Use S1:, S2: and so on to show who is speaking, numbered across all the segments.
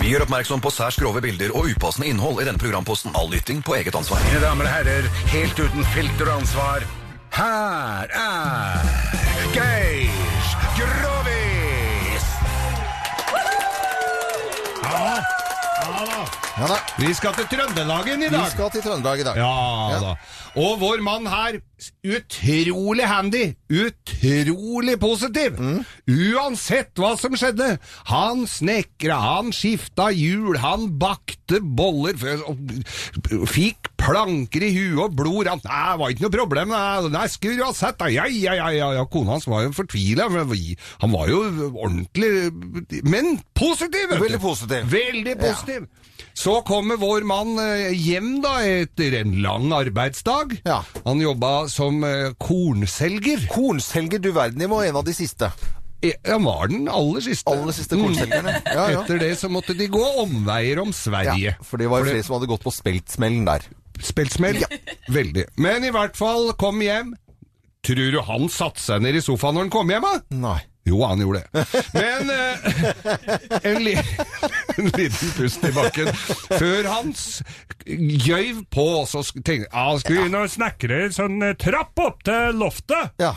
S1: Vi gjør oppmerksom på særs grove bilder og upassende innhold i denne programposten. All lytting på eget ansvar.
S2: Mine damer og herrer, helt uten filter og ansvar, her er Geir Grovis!
S3: Ja da.
S4: Vi skal til Trøndelagen i
S3: Vi
S4: dag.
S3: skal til Trøndelag i dag.
S4: Ja, da. Og vår mann her, utrolig handy, utrolig positiv.
S3: Mm.
S4: Uansett hva som skjedde. Han snekra, han skifta hjul, han bakte boller, f- og fikk planker i huet og blod rant. Nei, det var ikke noe problem. Nei, nei skulle du ha sett det. Ja, ja, ja, ja, ja. Kona hans var jo fortvila. for vi- Han var jo ordentlig Men positiv! vet du.
S3: Veldig positiv.
S4: Veldig positiv. Så kommer vår mann eh, hjem da etter en lang arbeidsdag.
S3: Ja.
S4: Han jobba som eh, kornselger.
S3: Kornselger, du verden, jeg var en av de siste.
S4: Eh, Han var den aller siste. Mm.
S3: Aller siste kornselgerne. Ja, ja.
S4: Etter det så måtte de gå omveier om Sverige.
S3: Ja, for det var jo flere som hadde gått på speltsmellen der.
S4: Speltsmell. Veldig. Men i hvert fall, kom hjem. Tror du han satte seg ned i sofaen når han kom hjem, da?
S3: Nei.
S4: Jo, han gjorde det. Men eh, en, li en liten pust i bakken før han s- gøyv på, så sk- tenkte jeg ah, Skal vi inn og snekre en sånn eh, trapp opp til loftet?
S3: Ja.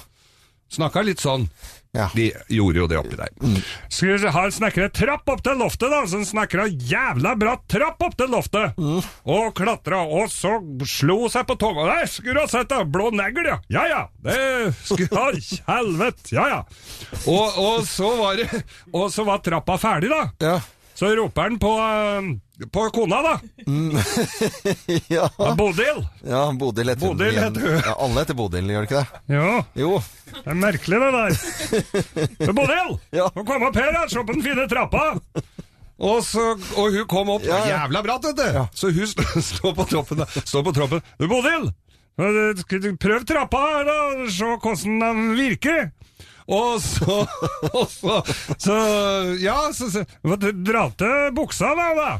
S4: Snakka litt sånn.
S3: Ja.
S4: De gjorde jo det oppi
S3: Mm.
S4: der. Skal vi ha en snekre trapp opp til loftet, da? Så han snekra jævla bratt trapp opp til loftet.
S3: Mm.
S4: Og klatra, og så slo seg på tåa. Der skulle du ha sett det! Blå negl, ja. Ja ja. Det skulle ha helvete. Ja ja. Og, og så var det Og så var trappa ferdig, da.
S3: Ja.
S4: Så roper han på, eh, på kona, da.
S3: Mm. Ja,
S4: Bodil.
S3: ja Bodil heter hun
S4: Bodil
S3: igjen.
S4: heter hun.
S3: Ja, alle heter Bodil, gjør det ikke det?
S4: Ja.
S3: Jo.
S4: Det er merkelig, det der. Men Bodil,
S3: Ja.
S4: nå kom opp her, da, se på den fine trappa. Og, så, og hun kom opp
S3: Ja, ja.
S4: jævla bratt, vet du. Så hun st- står på troppen. da. Står på troppen. Du, Bodil, eh, skal du prøv trappa her, da, se hvordan den virker. Og så, og så, så Ja, så, så hva, Dra til buksa, da. da.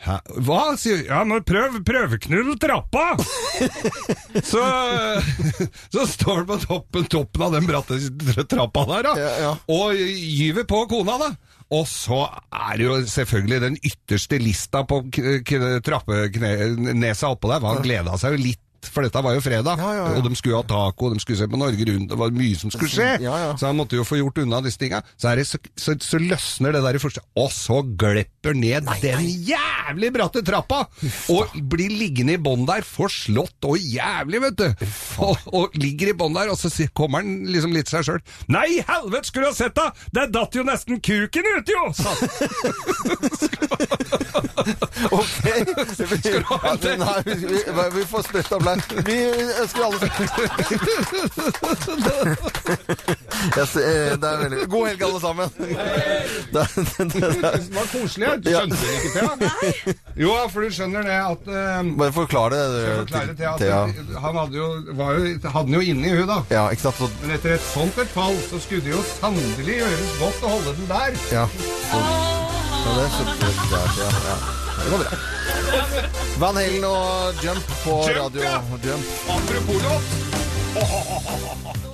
S4: Hæ? Hva? sier hun. Ja, men prøv, prøveknull trappa! Så, så står han på toppen, toppen av den bratte trappa der, da,
S3: Ja, ja.
S4: og gyver på kona, da. Og så er det jo selvfølgelig den ytterste lista på k- k- trappenesa oppå der. for Han gleda seg jo litt. For dette var jo fredag,
S3: Ja, ja, ja.
S4: og de skulle ha taco, de skulle se på Norge Rundt, det var mye som skulle skje.
S3: Mm, Ja, ja.
S4: Så han måtte jo få gjort unna disse tinga. Så, er det, så, så, så løsner det der i første Og så glepper ned den jævlig bratte trappa! Og blir liggende i bånn der, forslått og jævlig, vet du. Og, og ligger i bånn der, og så sier- kommer han liksom litt seg sjøl. Nei, helvete, skulle du ha sett da! Der datt jo nesten kuken ut, jo! sa han.
S3: Ok.
S4: du ha en til?
S3: Ja, Nei, vi, vi, vi får spredt applaus. Vi ønsker alle Jeg ser- eh, det er veldig... God helg, alle sammen. Det, det, det, det.
S4: Det var koselig. ja. Du skjønte det ikke, Thea? Jo, for du skjønner det at eh,
S3: Bare forklar det,
S4: jeg forklarer
S3: til-
S4: Thea at
S3: Thea.
S4: Han hadde jo, var jo, hadde den jo inni huet, da.
S3: Ja, ikke sant? Så,
S4: Men etter et sånt et fall, så skulle det jo sannelig gjøres godt å holde den der.
S3: ja. Ja, det er så- det er klart, ja, ja. Det går bra. Van Halen og Jump på
S4: Jump,
S3: radio.
S4: ja.
S3: Jump.
S4: Apropos låt.